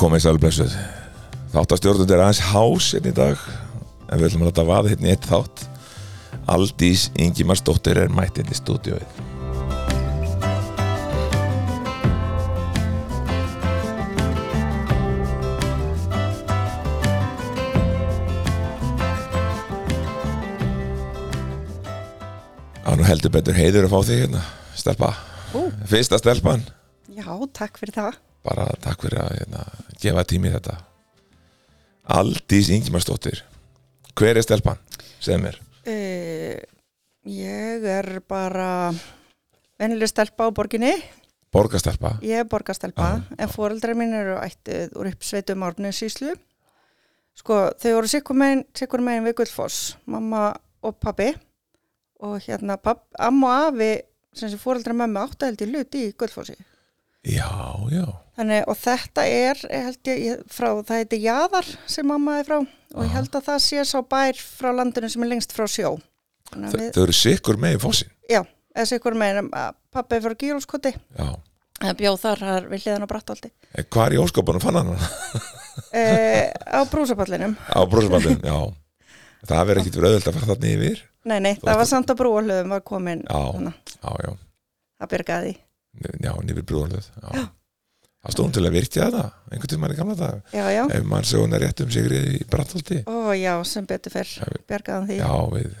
komið sæl blessuð Þáttastjórnund er aðeins hás hérna í dag En við ætlum að láta vaða hérna í eitt þátt Aldís Ingimarsdóttir er mætt hérna í stúdíóið Það er nú heldur betur heiður að fá þig hérna Stelpa Ú. Fyrsta stelpan Já, takk fyrir það. bara takk fyrir að hérna, gefa tími í þetta Aldís Ingimarsdóttir hver er stelpan? segð mér Uh, ég er bara vennileg stelpa á borginni. borgastelpa Ég er borgastelpa, Já, en foreldrar mín eru ættið úr uppsveitum árnum síslu. Sko, þau voru sikkur megin, sikkur megin við Gullfoss, mamma og pabbi. Og hérna, papp, amma og afi, sem sem foreldrar mamma áttu held í hlut í Gullfossi. já, já, Þannig, og þetta er, held ég, ég- frá, það heiti Jaðar sem mamma er frá og ég held að það sé sá bær frá landinu sem er lengst frá sjó. Þannig Þa, að við, þau eru sikkur með í fósin já, eða sig ykkur meina að pappi er frá Gíróskoti, já, það bjóð þar þar við hliðan á Brattaldi, en hvað er í óskapunum fann hann hana? e, á brúsapallinum. á brúsaballin, já það verður ekkit verið auðvöld að fara þarna yfir Nei, nei, ert það var samt að brúalöðum var komin, Já. þannig að já, já, það byrgaði. því. N- já, nýfir brúðanlöð já, það stóðum til að virkja þetta einhvern tímann í gamla dag Já, já, ef mann sé hún er rétt um sigrið í Brandholti ó já, sem betur fyrr, Já, við- byrgaðan því. já, við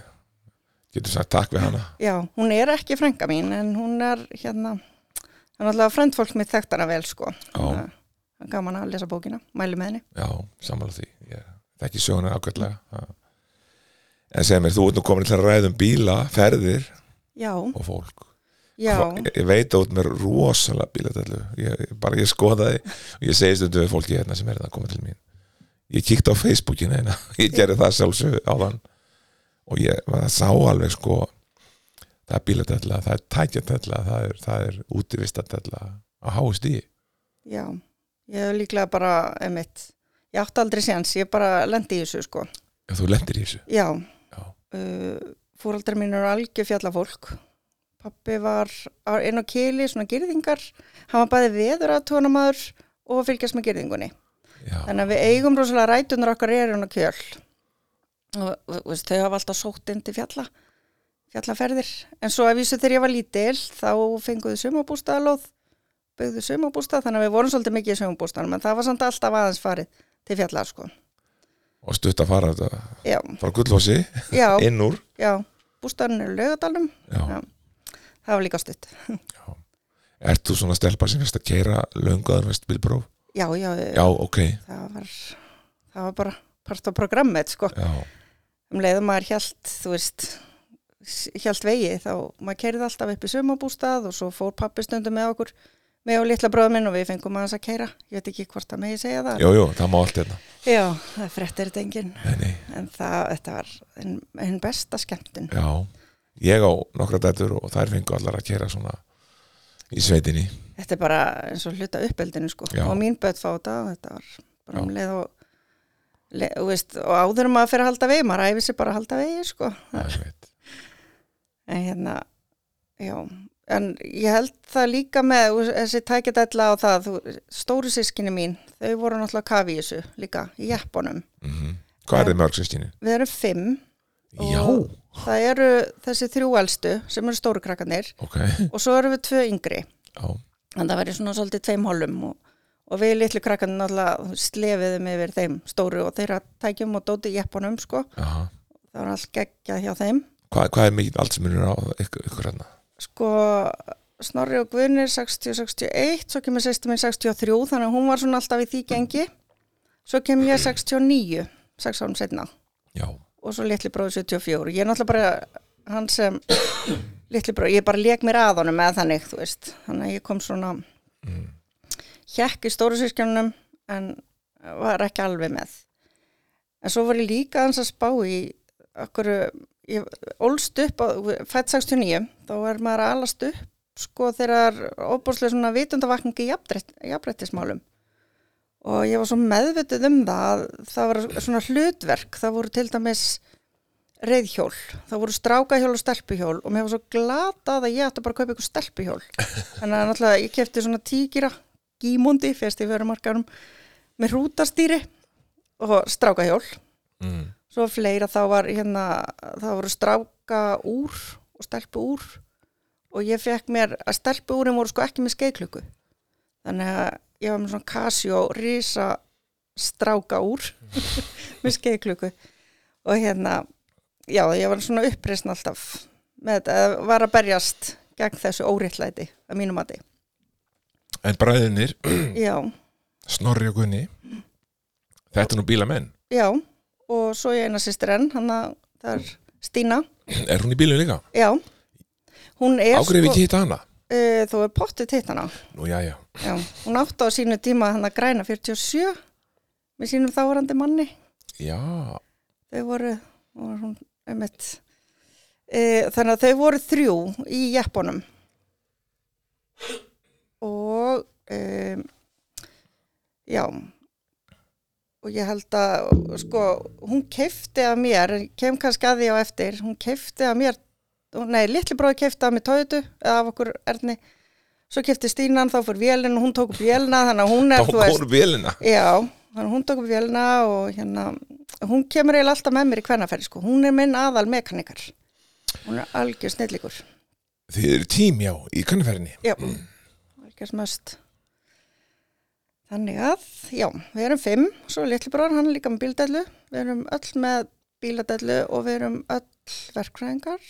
getum sagt takk við hana Já, hún er ekki frænga mín en hún er hérna, hann er alltaf frændfólk mitt þekkt hana vel sko. Já. Það er Gaman að lesa bókina, mælu með henni. Já, sammála því ég þekki söguna ákveðlega ha. en segir mér, þú ert nú komin til að ræða um bíla ferðir Já, og fólk já, Hva- ég, ég veit að út mér rosalega bílatællu ég, ég- bara ég skoðaði og ég segi stundum við fólki hérna sem er það að koma til mín ég kíkti á Facebookinu hérna ég gerði það sjálfsög á þann og ég maður sá alveg sko það er bílatælla, það er tækjatælla það er, það er útivistatælla á háist í já. Ég hef líklega bara, emitt, ég átti aldrei séns, ég bara lendi í þessu sko. þú lendir í þessu Já, Já. Uh, fóraldar mín eru algjör fjallafólk. Pappi var á- inn á kili, svona girðingar, hann var bæði veður að tónamaður og fylgjast með girðingunni. Já, Þannig að við eigum rosalega rætunar okkar er hún á kjöl. Og, og, þú veist, þau hafa alltaf sótt inn til fjalla, fjallaferðir. En svo að vísu þegar ég var lítil, þá fenguðu sumabústaðalóð, byggðu sumabústað, þannig að við vorum svolítið mikið í sumabústaðanum, en það var samt alltaf aðeins farið til fjalla, sko. og stutt að fara þetta Já, frá gullfossi, já, inn úr já, bústaðan er lögadalum, Já. Já. það var líka stutt. Ert þú svona stelpa sem fyrst að keira löngaður veist bilbróf? Já, já, Já, ok. það var, það var bara part á programmet, sko. Já, um leiðum maður hjælt, þú veist hjælt vegi, þá maður kerði alltaf upp í sumabústað og svo fór pappi stundum með okkur, með og litla bróðum minn og við fengum aðeins að keira, ég veit ekki hvort að megi segja það. jú, jú, það má allt hérna. Já, það frettir þetta enginn Nei, nei, en það, þetta var hinn hin besta skemmtun. já. Ég á nokkra dætur og þær fengu allar að keira svona í sveitinni. Þetta er bara eins og hluta uppeldinu sko Já. og mín börn fá þetta og þetta var bara um Já. leið og le, og veist, og áður en maður fyrir að halda vegi, maður æfir sér bara að halda vegi sko. Það er veit. en hérna já, en ég held það líka með þú- þessi tækjadella og það þú, stóru sískinni mín, þau voru náttúrulega á kafi í þessu líka, í jeppunum Mm Hvað er þið mörg sískinni? við erum fimm og Já, það eru þessi þrjú elstu sem eru stóru krakkanir ok. og svo eru við tvö yngri Já, en það væri svona svolítið tveim holum og, og við litlu krakkanir náttúrulega slefiðum yfir þeim stóru og þeirra tækjum og dóti í jeppunum sko, aha. það var allt geggjað hjá þeim Hvað, hvað er mikið allsmunur á ykkur, ykkur hérna? sko Snorri og Guðnir 60-61 svo kemur sýstir minn 63 þannig að hún var svona alltaf í því gengi svo kem ég 69 6 árum setna Já, og svo litli bróði 74 ég er náttúrulega bara hann sem litli bróði, ég bara leik mér að honum eða þannig, þú veist þannig að ég kom svona hjekk í stóru sískjánum en var ekki alveg með en svo var ég líka hans að spá í okkur, ég ólst upp á, fætt 69, þá er maður að alast upp sko þegar óbúrslega svona vitundavakningi í jafnrétt, jafnréttismálum og ég var svo meðvituð um það að það var svona hlutverk, það voru til dæmis reyðhjól, það voru strákahjól og stelpuhjól og mér var svo glatað að ég ætti bara að kaupa ykkur stelpuhjól þannig að náttúrulega ég kefti svona tíkira gímundi fyrst í verumarkarum með hrútastýri og strákahjól mm. svo fleira þá var hérna þá voru stráka úr og stelpu úr og ég fekk mér að stelpu úrin voru sko ekki með skeiklöku þannig að ég var með svona Casio risa stráka úr með skeiklöku og hérna já ég var svona uppreisn alltaf með þetta eða var að berjast gegn þessu óréttlæti að mínum mati En bræðinir, já Snorri og Gunni Þetta er nú bílamenn já og svo ég eina sýstir enn hann að það er Stína Er hún í bílum líka? já hún er sko- Ágrif ekki hitta hana? Uh, þú er pottið hitt hana Nú já, já, Já, hún átti á sínu tíma hann að græna 47 með sínum þávarandi manni já þau voru, voru hún, einmitt, e, þannig að þau voru þrjú í jeppunum og e, já og ég held að sko, hún keifti að mér kem kannski að því á eftir hún keifti að mér, nei, litli bróði keifti að mér tóðutu, eða af okkur erni svo keifti Stínan, þá fór vélina hún tók upp vélina, þannig að hún Þá er þú veist- hún bílina Já, þannig að hún tók upp vélina og hérna, hún kemur eiginlega alltaf með mér í kvennaferði sko, hún er minn aðal mekanikar, hún er algjör snillíkur, Þið eru tím, já, í kannferðinni já, algjör smöst. Þannig að, já, við erum fimm, svo er litli bróðan, hann er líka með bíldellu, við erum öll með bíladellu og við erum öll verkfræðingar.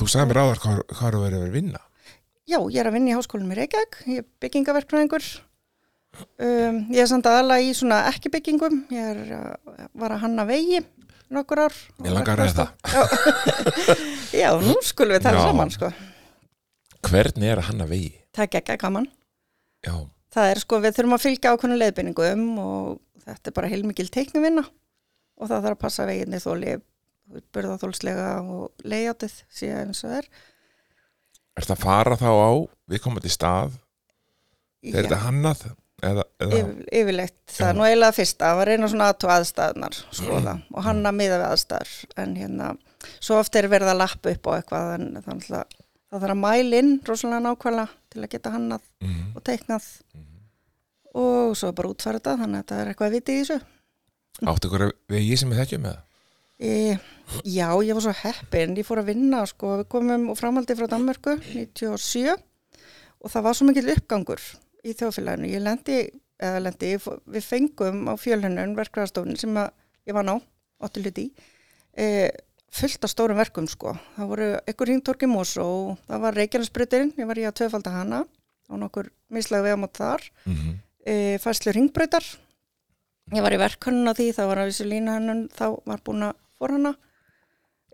Þú sagði mér áðar hvað, hvað þú verið að vera að vinna Já, ég er að vinna í háskólinum í Reykjavík, ég er byggingaverkfræðingur. Um, ég er samt aðalega í svona ekki byggingum, ég er, að- var að hanna vegi nokkur ár. Mér langar að ræða Já, nú skulum við tala Já. saman sko. Hvernig er að hanna vegi? Það er ekki gaman. Já, Það er sko, við þurfum að fylgja ákveðnum leiðbynningum og þetta er bara heilmikil teiknuvinna og það þarf að passa veginni þóli, burðaþólslega og leiðjátið síðan eins og það er. er það að fara þá á Við komum til stað, er þetta hannað eða, eða yfir, yfirleitt, það er nú eiginlega fyrst að var einu svona aðtú aðstæðnar skoða og hanna miða við aðstæður en hérna, svo oft er verið að lappa upp á eitthvað en þannig að það þarf að mæla inn rosalega nákvæmlega til að geta hannað Mhm. og teiknað og svo er bara útfæra þetta þannig að það er eitthvað að viti í þessu áttu ykkur að vegi sem við þekkjum eða? e, Já, ég var svo heppin, ég fór að vinna sko, við komum og framaldi frá Danmörku 97 og það var svo mikill uppgangur í þjóðfélaginu ég lendi, eða lendi, ég fó- við fengum á fjölunum verkræðastofnin sem að ég var ná, ótti hluti í e, fullt af stórum verkum sko það voru ykkur hringtorki mós og það var Reykjanesbrutirinn, ég var í að töfalda hana og nokkur mislega vegamót þar Mm -hmm. e, færslu ringbrautar ég var í verkhönnun á því þá var að vissu lína hennun þá var búin að fór hana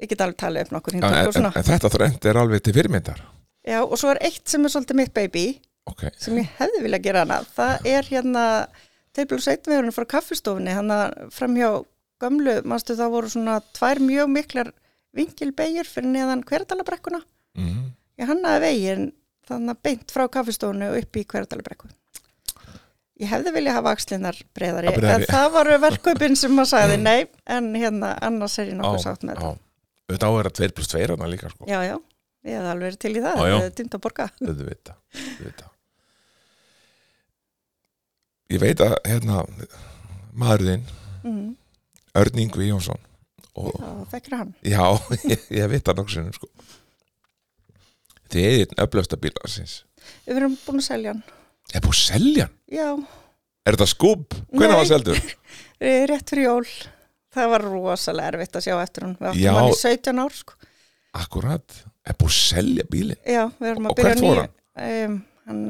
ég get alveg talið upp nokkur en, hringtorki og en, svona en þetta þrönd er alveg til fyrirmyndar já, og svo er eitt sem er svolítið mitt baby Ok, sem ég hefði viljað gera hana það er hérna table og seitveðurinn frá kaffistofunni hérna framhjá gömlu, manstu það voru svona tvær mjög miklar vingilbeigir fyrir neðan hverdalabrekkuna mm -hmm. ég hannaði veginn þannig beint frá kaffistofunu og upp í hverdalabrekku ég hefði viljað hafa axlinnar breyðari Já, breiðari. en það voru verkkaupin sem maður sagði nei en hérna annars er ég nokkuð sátt með þetta Þetta áverða 2 pluss 2 hana líka sko já já, ég hefði alveg verið til í Já, það já. það er týnd að borga auðvita, auðvita. Ég veit að hérna, maðurðinn mm, Örn Yngvi Jónsson og, það þekkir hann já, ég, ég veit það nokkuð sinnum sko Þið er einn öflösta bílarsins við erum búin að selja hann Er búið að selja hann? já, Er þetta skúb? Hvernig Nei. var seldur? Eh, rétt fyrir jól það var rosalega erfitt að sjá eftir hún við Já. áttum hann í 17 ár sko. Akkurat, er búið að selja bílinn? já, við erum að Og byrja hvert fór hann? um, hann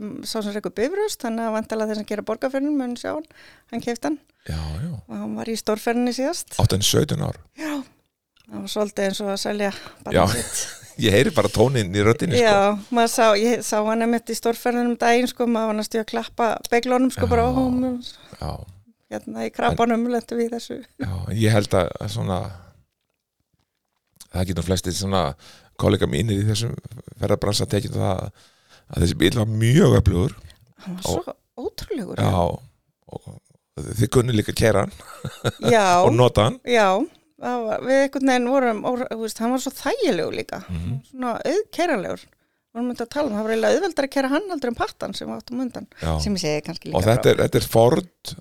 um, sá sem reyku bifröst þannig að vantala þess að gera borgarferðin mun sjá hann, hann keift hann Já, já, og hann var í stórferðinni síðast átt enn 17 ár það var svolítið eins og að selja barnið Já. sko. sitt. Ég heyri bara tóninn í röddinni já, sko maður sá, ég sá hann emitt í stórferðinum daginn sko, maður var næstu að klappa beglónum sko Já. bara á hún Já, hérna í krabanum lentum við í þessu já, ég held að að svona það getur flestir svona kollega mínir í þessum ferðarbransa tekið það að þessi bíl var mjög öflugur hann var svo ótrúlegur já, og þið kunni líka kæra hann já. og nota hann Já, Mhm. það var, við einhvern veginn vorum, ó, þú veist, hann var svo þægilegu líka, svona auðkerralegur. vorum myndið að tala um, það var eiginlega auðveldar að kæra hann heldur en pattan sem við áttum undan já. sem ég segi kannski líka og þetta frá. er, þetta er Ford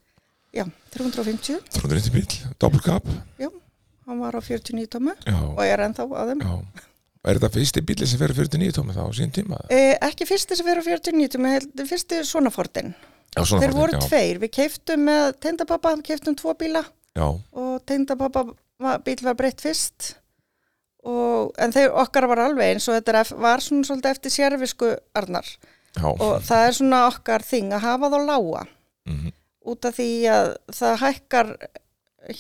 Já, 350, 390 bíl, double cab hann var á 49 tómu já, og er ennþá á þeim já er þetta fyrsti bíli sem fer á 49 tómi þá á sín tíma? Eh, ekki fyrsti sem fyrir á 49 tómu, heldur fyrsti svona fortin. Já, svona Þeir fór voru þetta, já. tveir, við keiftum með tengdapappa, við keiftum tvo bíla já, og tengdapappa var- bíl var breytt fyrst og, en þeir okkar var alveg eins og þetta er, ef- var svona svolítið eftir sérvisku Arnar já, og það er svona okkar þing að hafa þá lága mhm, út af því að það hækkar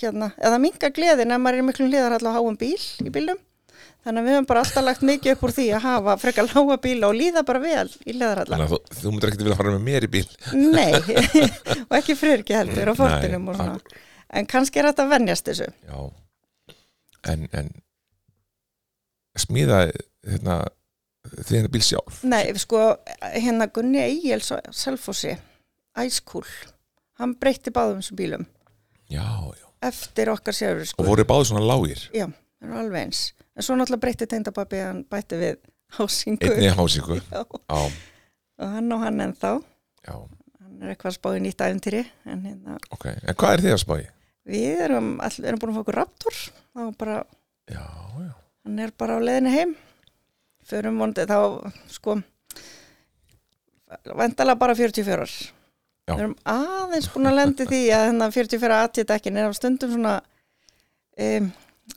hérna, eða minga gleðin ef maður er í miklum hliðar allavega háum bíl í bílum þannig að við höfum bara alltaf lagt mikið upp úr því að hafa frekar lága bíla og líða bara vel í leðarallar. þannig að þú, þú myndir ekkert vilja fara með mér í bíl Nei, og ekki fryrki heldur á fortinum Nei, og svona. En kannski er þetta að venjast þessu. já en, en smíða hérna, því hennar bíl sjálf Nei, sko, hérna Gunni Egil's á Selfossi, Ice Cool, hann breytti báðum þessum bílum já, já, eftir okkar sérur, sko. og voru báðu svona lágir Já, það eru alveg eins. En svo náttúrulega breytti tengdababbi hann bætti við hásingu. einni hásingu Já, já, og hann og hann ennþá. já, Hann er eitthvað að spá í nýtt æfintýri. En hérna, ok, en hvað er þið að spáði? við erum, all, erum búin að fá okkur raptor. Þá bara, já, já, hann er bara á leiðinu heim. Förum vondið þá, sko, vendalega bara 44. Já. Við erum aðeins búin að lendi því að hérna þennan 44 aðtíð dekkin er á stundum svona... Um,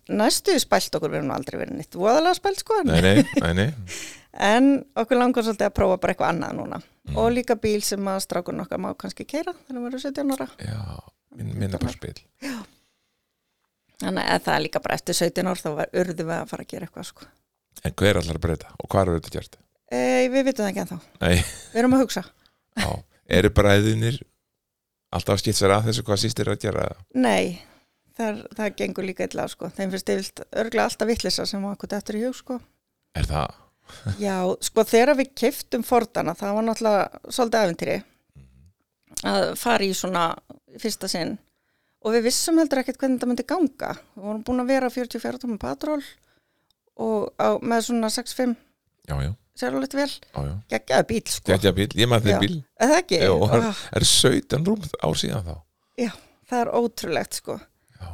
næstu spælt okkur, við erum nú aldrei verið nýtt voðalega spælt sko, en nei, nei, nei, nei. En okkur langar svolítið að prófa bara eitthvað annað núna. Mm. Og líka bíl sem að strákun okkar má kannski keira þegar við erum 17 ára. já, minn, minna bara spil Þannig að það er líka bara eftir 17 ár þá var urðu við að fara að gera eitthvað sko. en hver allar að breyta og hvað eru þetta gert? E, við vitum það ekki ennþá. nei, Við erum að hugsa. já, eru bræðinir alltaf að skipt sér að þessu hvað sýstir að gera Nei, það, það gengur líka illa sko. Þeim finnst yfirlt örglega alltaf vittlisa sem var okkur dettur í hug sko. er það? Já, sko þegar við keftum fordana það var náttúrulega svolítið aventýri að fara í svona fyrsta sinn og við vissum heldur ekkert hvernig þetta myndi ganga við vorum búin að vera á 44 tómum patról og á, með svona 6-5 já, já, sérulegt vel, já, já geggjaði bíl sko Þetta bíl, ég maður Já. þið bíl er það ekki? Jó, Ó, er 17 rúm ár síðan þá já, það er ótrúlegt sko já,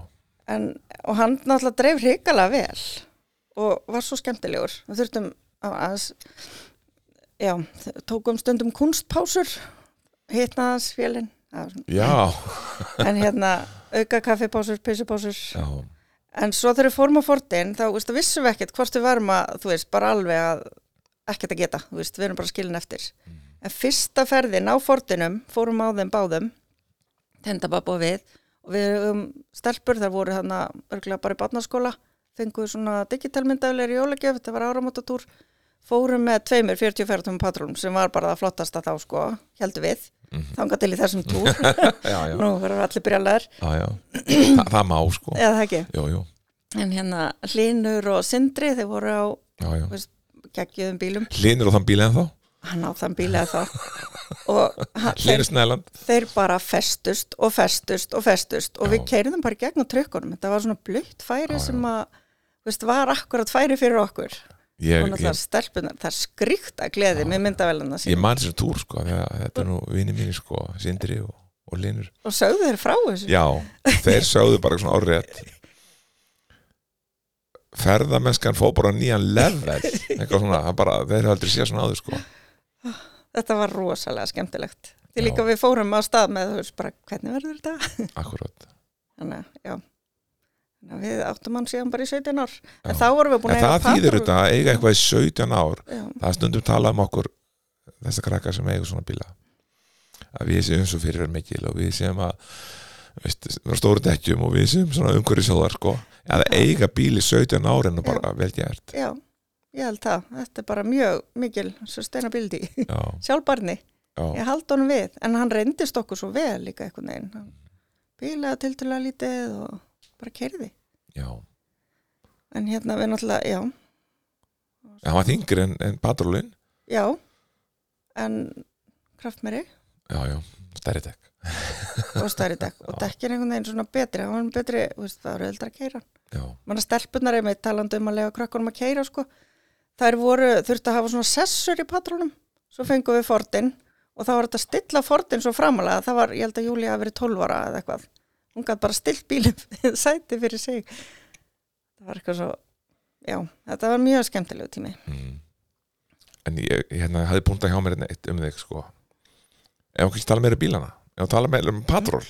en, og hann náttúrulega dreif hrikalega vel og var svo skemmtilegur við þurftum að aðeins já, þ- tókum stundum kunstpásur hitna aðeins félinn já, en hérna auka kaffipásur, pysupásur já. en svo þegar við fórum á fortin þá veist, vissum við ekkert hvort við varum að þú veist, bara alveg að ekkert að geta þú veist, við erum bara skilin eftir en fyrsta ferðin á fortinum fórum á þeim báðum tendabab og við og við um, stelpur þar voru þarna örgulega bara í barnaskóla fenguðu svona digitalmyndaðulegur í jólagjöf þetta var áramótatúr fórum með tveimur 40 ferðum patrúlum sem var bara það flottasta þá sko, heldur við þangað til í þessum túr já, já, nú verður allir brjálæðar já, já. Þa, það má sko eða það ekki jú, jú. en hérna Hlinur og Sindri þeir voru á Já, já. geggjöðum bílum Hlinur á þann bíl ennþá hann á þann bíl eða þá og hann, þeir, Hlinur Snæland þeir bara festust og festust og festust og Já. við keirðum bara í gegn á trökkunum þetta var svona blutt færi Já, já. sem að þú veist, var akkurat færi fyrir okkur ég, og ég, náttúrulega stelpunar, það skríkt að gleði með myndavelina sín ég man þessar túr sko þegar, þetta er nú vini mínir sko Sindri og, og Hlinur og sögðu þeir frá þessu já, þeir sögðu bara svona orðrétt ferðamennskan fór bara á nýjan level eitthvað svona, það bara, þeir eru aldrei séð svona áður sko þetta var rosalega skemmtilegt Já. því líka við fórum á stað með þú veist bara hvernig verður þetta akkurát þannig að já þannig að við áttum hann síðan bara í 17 ár en Já. þá vorum við búin en að það eiga þýðir patrón- þetta að eiga eitthvað í 17 ár Já, það er stundum talað um okkur þessar krakkar sem eiga svona bíla að við séum svo fyrir mikil og við séum að veist, vera stóru dekkjum og við séum svona umhverfisjóðar sko að eiga bíl í 17 árin og bara vel gert já, ég held það þetta er bara mjög mikil sustainability já, sjálfbarni, já, ég hald honum við en hann reyndist okkur svo vel líka einhvern veginn hann bílaði tiltölulega lítið og bara kerði já en hérna við náttúrulega, já, það var þingri en, en patrólin já en kraftmeri já, já, stærri dekk og stærri dekk og dekkin einhvern veginn svona betri, hann var hann betri, þú veist, það eru eldra að keira já, manna stelpunar er með talandi um að lega krökkunum að keira sko. þær voru, þurfti að hafa svona sessur í patrónum, svo fengum við fortin og þá var þetta að stilla fortin svo framalega, það var, ég held að Júlía hafi verið 12 ára eða eitthvað, hún gæti bara stillt bílum við sæti fyrir sig það var eitthvað svo já, þetta var mjög skemmtilegu tími mm. en ég, ég hérna, hafði búntað hjá mér hérna eitt um þig sko ef okkur ekki tala meira um bílana ef okkur tala meira um patról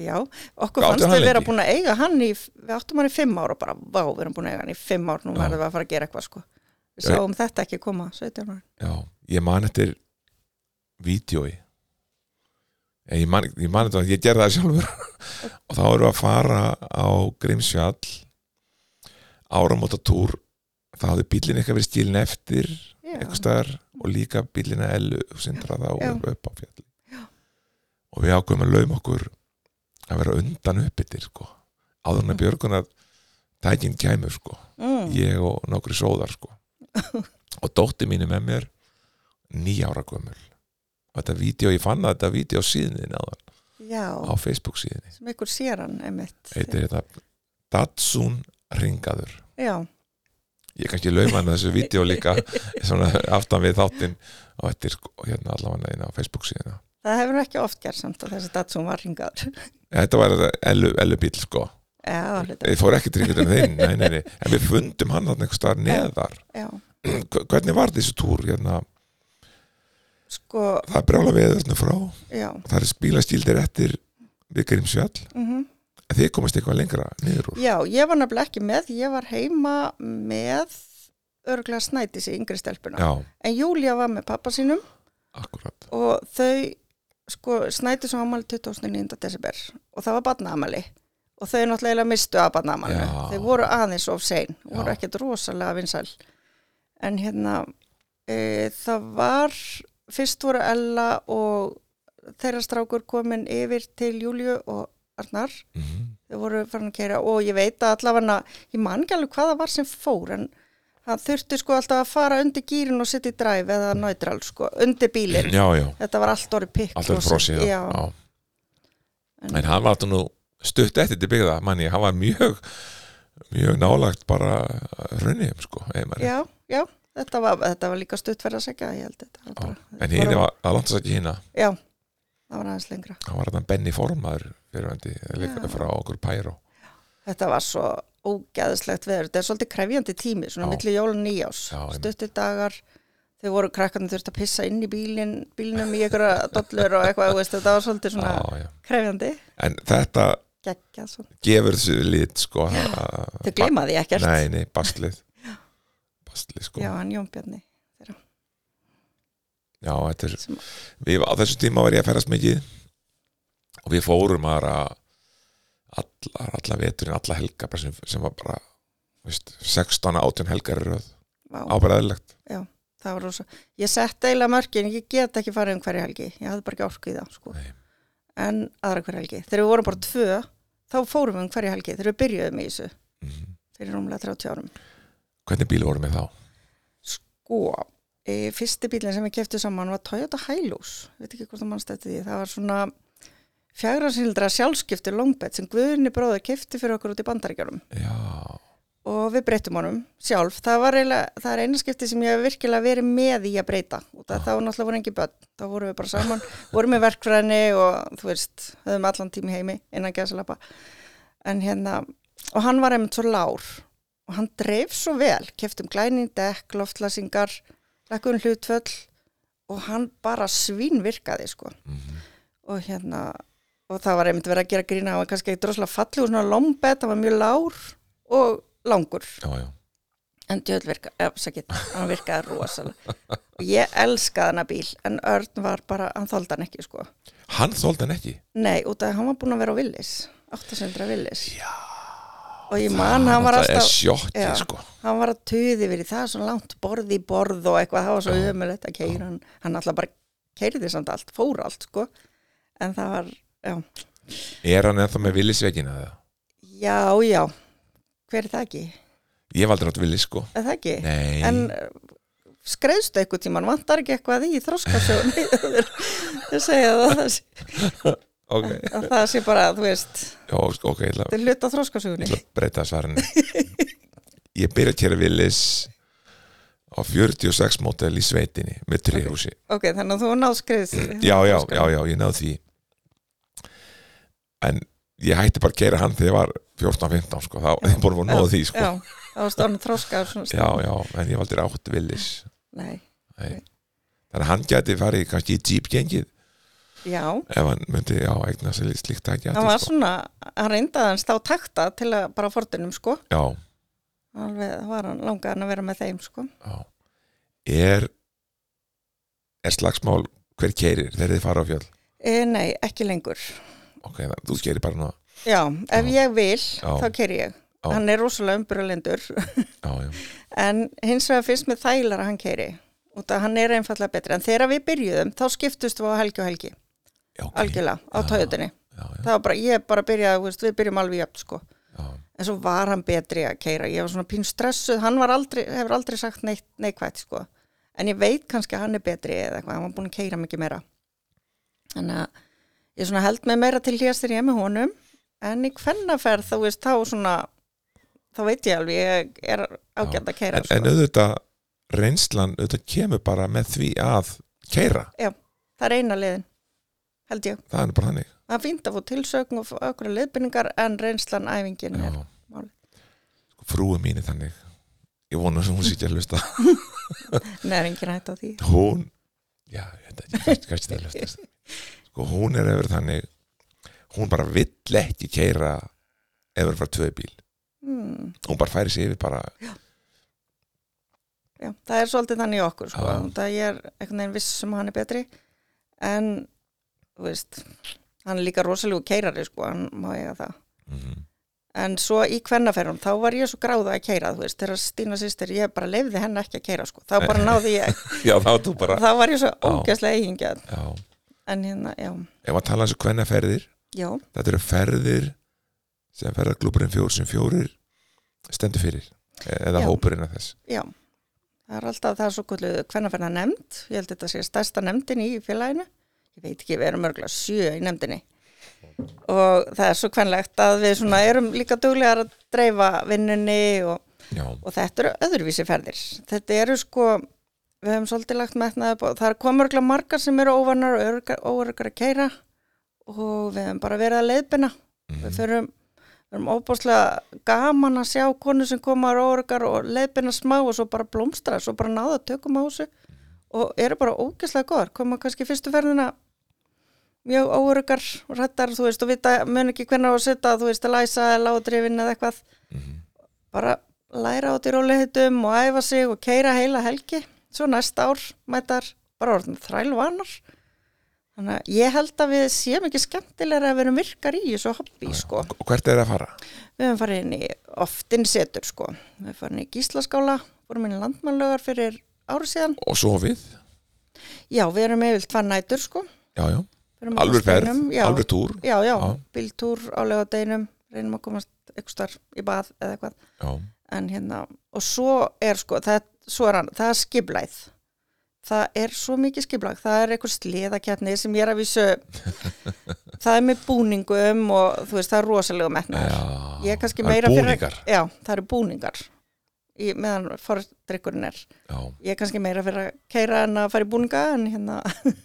já, okkur Hvað áttu fannst hann við vera lengi? búin að eiga hann í, við áttum hann í fimm ára og bara, vá, við erum búin að eiga hann í fimm ára nú Já. verðum við að fara að gera eitthvað sko við Já. sáum þetta ekki koma 17 ára já, ég man eftir vídjói ég man, ég man eftir að ég gerði það sjálfur og þá erum við að fara á Grímsfjall áramótatúr þá hafði bílinn eitthvað verið stílin eftir já, einhvers staðar og líka bílina Ellu sindra þá Já. upp á fjalli og við ákveðum að laum okkur að vera undan uppbyttir sko. áður en að björgunar tækin kæmur sko. mm, ég og nokkri sóðar sko. og dótti mínu með mér nýjára gömul og þetta vídeo, ég fann að þetta vídeo síðinni náðan, á já, Facebook síðinni sem ykkur sér hann einmitt heitir þetta Datsun Ringaður já, ég kannski lauma hann að þessu vídeo líka svona aftan við þáttinn á eftir sko, hérna allavega inn á Facebook síðuna það hefur ekki oft gerð samt að þessi datsum var ringaður þetta var þetta ellu, ellu bíl sko já, hluta, ég fór ekki til einhvern veginn nei, nei, nei. en við fundum hann þarna einhvers staðar neðar já Hv- hvernig var þessu túr hérna sko, það er brjála við þarna frá já það er spílaskildir eftir við Grímsfjall mm en þið komast eitthvað lengra niður úr Já, ég var nefnilega ekki með, ég var heima með örglega snætis í yngri stelpuna. já, En Júlia var með pappa sínum akkurat og þau, sko, snætis á amali 2009. desember og það var batnaamali og þau náttúrulega mistu að batnaamalinu. Já. Þau voru aðeins of sein, voru Já. ekkert rosalega vinsæl. En hérna, e, það var, fyrst voru Ella og þeirra strákur komin yfir til Júliu og Arnar mm þau voru farin að keira og ég veit að allavega ég man ekki alveg hvað það var sem fór en hann þurfti sko alltaf að fara undir gýrin og setja í dræf eða neutral sko, undir bílinn já, já, þetta var allt orðið pikk alltaf og svo- frosið já, já. en hann var þetta nú stutt eftir til byggða manni, hann var mjög mjög nálagt bara hrunniðum sko, ef maður já, já, þetta var, þetta var líka stuttverð að segja ég held þetta var Já, bara, en hinn var að langt þess ekki hinn já, það var aðeins lengra hann var þarna Benny Formaður fyrirvendi Já. frá okkur Pæró þetta var svo ógeðslegt veður þetta er svolítið krefjandi tími, svona Já. milli jólun nýjás Já, einmitt. stuttir dagar þau voru krakkarnir þurfti að pissa inn í bílinn bílinnum í einhverja dollur og eitthvað þú veist, þetta var svolítið svona Já, já. krefjandi en þetta geggja svona. gefur þessu lit sko, Þau gleyma því ekkert. Nei, nei, baslið baslið sko Já, já. hann Jón Bjarni. þetta er, Sem- við, á þessu tíma var ég að ferast mikið og við fórum bara allar, alla veturinn, alla helga bara sem, sem var bara veist, 16, 18 helgar í röð Vá, ábæðilegt það var rosa. Ég sett eiginlega mörkin, ég get ekki farið um hverja helgi. Ég hafði bara ekki orku í það, sko. Nei. En aðra hverja helgi. Þegar við vorum bara tvö, þá fórum við um hverja helgi. Þegar við byrjuðum í þessu mm. fyrir rúmlega 30 árum. hvernig bíl vorum við þá? Sko, e, fyrsti bílinn sem við keftum saman var Toyota Hilux. Veit ekki hvort það mannst eftir því. Það var svona fjagrasilindra sjálfskipti longbett sem Guðni bróður kefti fyrir okkur út í bandaríkjörnum. já, og við breytum honum sjálf það, var eiginlega, það er eina skipti sem ég hef virkilega verið með í að breyta og það, þá náttúrulega voru engi börn, þá vorum við bara saman vorum við verkfræðinni og þú veist höfum allan tími heimi innan gæðsalapa en hérna og hann var einmitt svo lár og hann dreif svo vel, keftum glæning dekk, loftlasingar, lekkun hlutföll og hann bara svínvirkaði sko mm. og hérna og það var einmitt verið að gera grína hann var kannski ekki droslega fallið og svona lombett, hann var mjög lár og langur já, já en djöðl virka, eh, sakit, hann virkaði rosalega og ég elskaði hann að bíl en Örn var bara, hann þóldi hann ekki sko hann þóldi hann ekki nei, út af að hann var búin að vera á Willis 800 Willis Já, og ég man, hann var alltaf alltaf sjokki Já. sko hann var að tuði verið það er svona langt borð í borð og eitthvað það var svo ömulegt að keira hann hann alltaf bara keiriði samt allt, fór allt sko en það var, já er hann ennþá með villisveikina það? já, já, hver er það ekki? ég hef aldrei átt villis sko Er það ekki? nei, en skreðstu eitthvað tíman, vantar ekki eitthvað í þróskasjóni ég segja það að það, sé, ok, að það sé bara, þú veist Já, ok, ég ætla, þetta er hluta ég þróskasjóni ætla að breyta svarinu ég byrja að kera villis á 46 mótel í sveitinni með trehúsi ok, þannig að þú náðskriðs já, já, já, já, ég náði því en ég hætti bara að gera hann þegar ég var 14-15 sko, þá ég búin að voru náði því sko. já, það var stórn þróska og svona já, já, en ég valdi rátt villis Nei, Nei. þannig að hann gæti farið kannski í Jeep gengið já, ef hann myndi, já, eigna sér líkt slíkt að það var gæti sko. svona hann reyndaði hans þá takta til að bara fortunum sko, já, alveg það var hann langaðan að vera með þeim sko já er er slagsmál hver keirir þegar þið fara á fjöll e, nei, ekki lengur ok, það, þú keirir bara nú já, ef ég vil, Já. þá keri ég Já. hann er rosalega umburulendur já, já, en hins vegar finnst mér þægilega að hann keri út að hann er einfallega betri en þegar við byrjuðum, þá skiptust við á helgi og helgi já, ok. algjörlega, á Já. tóðutinni já, já, það var bara, ég bara byrjaði, þú veist, við byrjum alveg jöfn sko já, en svo var hann betri að keira ég var svona pín stressuð, hann var aldrei hefur aldrei sagt neitt, neikvætt sko en ég veit kannski að hann er betri eða eitthvað hann var búin að keira mikið meira þannig að ég svona held mig meira til hlýjast þegar ég er með honum en í hvennaferð þá veist þá svona þá veit ég alveg ég er ágænd að sko. keira en, en auðvitað reynslan auðvitað kemur bara með því að keira, það er eina liðin, held ég það er nú bara þannig það er fínt að fá tilsögn og fá okkur liðbynningar en reynslan æfingin er já. málið. Sko, frúi mín er þannig ég vona að hún sé ekki að hlusta neður engin hætt á því hún já, ég veit ekki, kannski- kannski það hlusta sko, hún er yfir þannig hún bara vill ekki keira yfir frá tvö bíl hmm. hún bara færi sig yfir bara Já, það er svolítið þannig í okkur sko, Já. það ég er einhvern veginn viss sem hann er betri en þú veist, hann er líka rosalegu keirari sko, hann má eiga það mhm, en svo í kvennaferðum, þá var ég svo gráða að keira þú veist, þegar Stína sýstir, ég bara leifði henni ekki að keira sko, þá bara náði ég já, þá þú bara þá var ég svo Já. ógeðslega eigingja já. en hérna, já, ef að tala eins og hvenna ferðir já, þetta eru ferðir sem ferðarklúburinn fjór sem fjórir stendur fyrir e- eða Já. hópurinn að þess já það er alltaf það er svo kvöldu kvennaferðna nefnd ég held að þetta sé stærsta nefndin í félaginu ég veit ekki, við erum örgulega sjö í nefndinni og það er svo kvenlegt að við svona erum líka duglegar að dreifa vinnunni og, já, og þetta eru öðruvísi ferðir þetta eru sko við höfum svolítið lagt metnað upp og það kom örgulega margar sem eru óvannar og örgar, óörgar að keira og við höfum bara verið að leiðbina mhm, við förum við erum óbáslega gaman að sjá konu sem koma á róurgar og leiðbina smá og svo bara blómstra, svo bara náða tökum á þessu og eru bara ógeðslega góðar, koma kannski fyrstu ferðina mjög óurgar og rættar, þú veist, og vita, mun ekki hvernig á að setja, þú veist, að læsa eða látrifin eða eitthvað, mhm, bara læra át í róleihitum og æfa sig og keira heila helgi, svo næsta ár mætar bara orðin þrælvanar þannig að ég held að við séum ekki skemmtilega að vera virkar í þessu hobby, sko og hvert er það að fara? Við höfum farið inn í oftin setur sko. Við höfum farið inn í gíslaskála, vorum inn í landmannlögar fyrir ári síðan. og sofið, Já, við erum yfir tvær nætur sko. já, já Förum á alveg ferð, föstudeinum, já, alveg túr Já, já, Já. bíltúr á laugadeinum, reynum að komast einhvers þar í bað eða eitthvað. já, En hérna, og svo er sko, það, svo er hann, það er skiblæð. Það er svo mikið skiblæð, það er einhver sleðakjarni sem ég er að vísu, það er með búningum og þú veist, það er rosalega metnaður. já ég er kannski Það eru meira búningar. fyrir já, það eru búningar í, meðan fordrykkurinn er já, ég er kannski meira fyrir að keira en að fara í búninga en hérna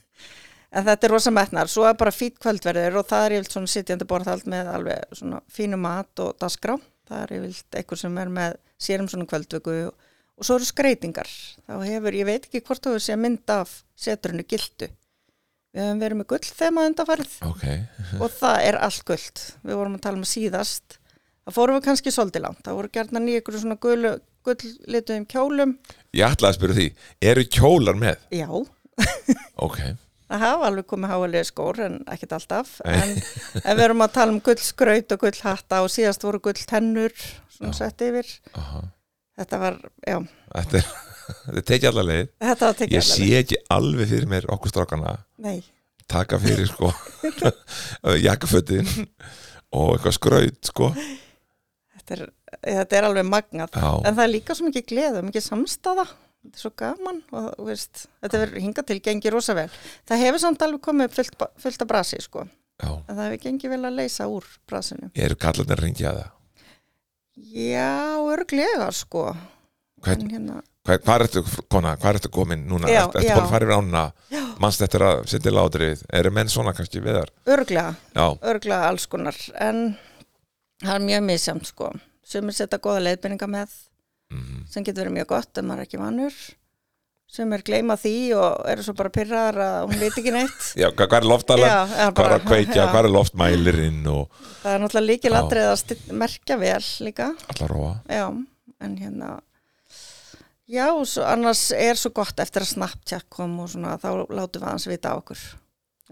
en þetta er rosa metnar, svo er bara fýtt kvöldverðir og það er yfirlt svona sitjandi borðhald með alveg svona fínu mat og dasgrá það er yfirlt einhver sem er með sérum svona kvöldvöku og, og svo eru skreitingar þá hefur, ég veit ekki hvort þú hefur sé mynd af seturinu gildu við höfum verið með gull þegar maður undanfarið ok og það er allt guld við vorum að tala um síðast það fórum við kannski svolítið langt það voru gerðan í ykkur svona gullu, gulllituðum kjólum ég ætlaði að spyrja því, eru kjólar með? já, ok, það hafa alveg komið háalegi skór en ekkert alltaf en, en við vorum að tala um gullskraut og gullhatta og síðast voru gulltennur svona sett yfir aha þetta var, já, þetta er, þetta er tekið allar leið þetta var tekið ég sé ekki alveg fyrir mér okkur strákana nei, taka fyrir sko jakkafötin og eitthvað skraut sko þetta er, þetta er alveg magnað Já. en það er líka svo mikið gleð og mikið samstaða þetta er svo gaman og þú veist, þetta verður hingað til gengið rosa vel það hefur samt alveg komið upp fullt, ba- fullt af brasi sko já, en það hefur gengið vel að leysa úr brasinu. eru kallarnir að ringja það Já, örglega sko. Hvern, En hérna, Hvað, hvað ertu, kona, hvað ertu komin núna? Já, ertu ertu já. búin að fara yfir ána? Manst eftir að setja látrið? Eru menn svona kannski við þar? örglega, Já, örglega alls konar en það er mjög misjamt sko sem er setja góða leiðbyrninga með mhm. sem getur verið mjög gott en maður er ekki vannur sem er gleyma því og eru svo bara pyrraðar að hún veit ekki neitt já hvað, hvað er loftalega? Já, já, Hvað er bara- að kveikja? já. Hvað er loftmælirinn og það er náttúrulega líkil atrið að sti- merkja vel líka allar róa? já, en hérna já, og svo, annars er svo gott eftir að Snapchat kom og svona þá látum við aðeins vita á okkur við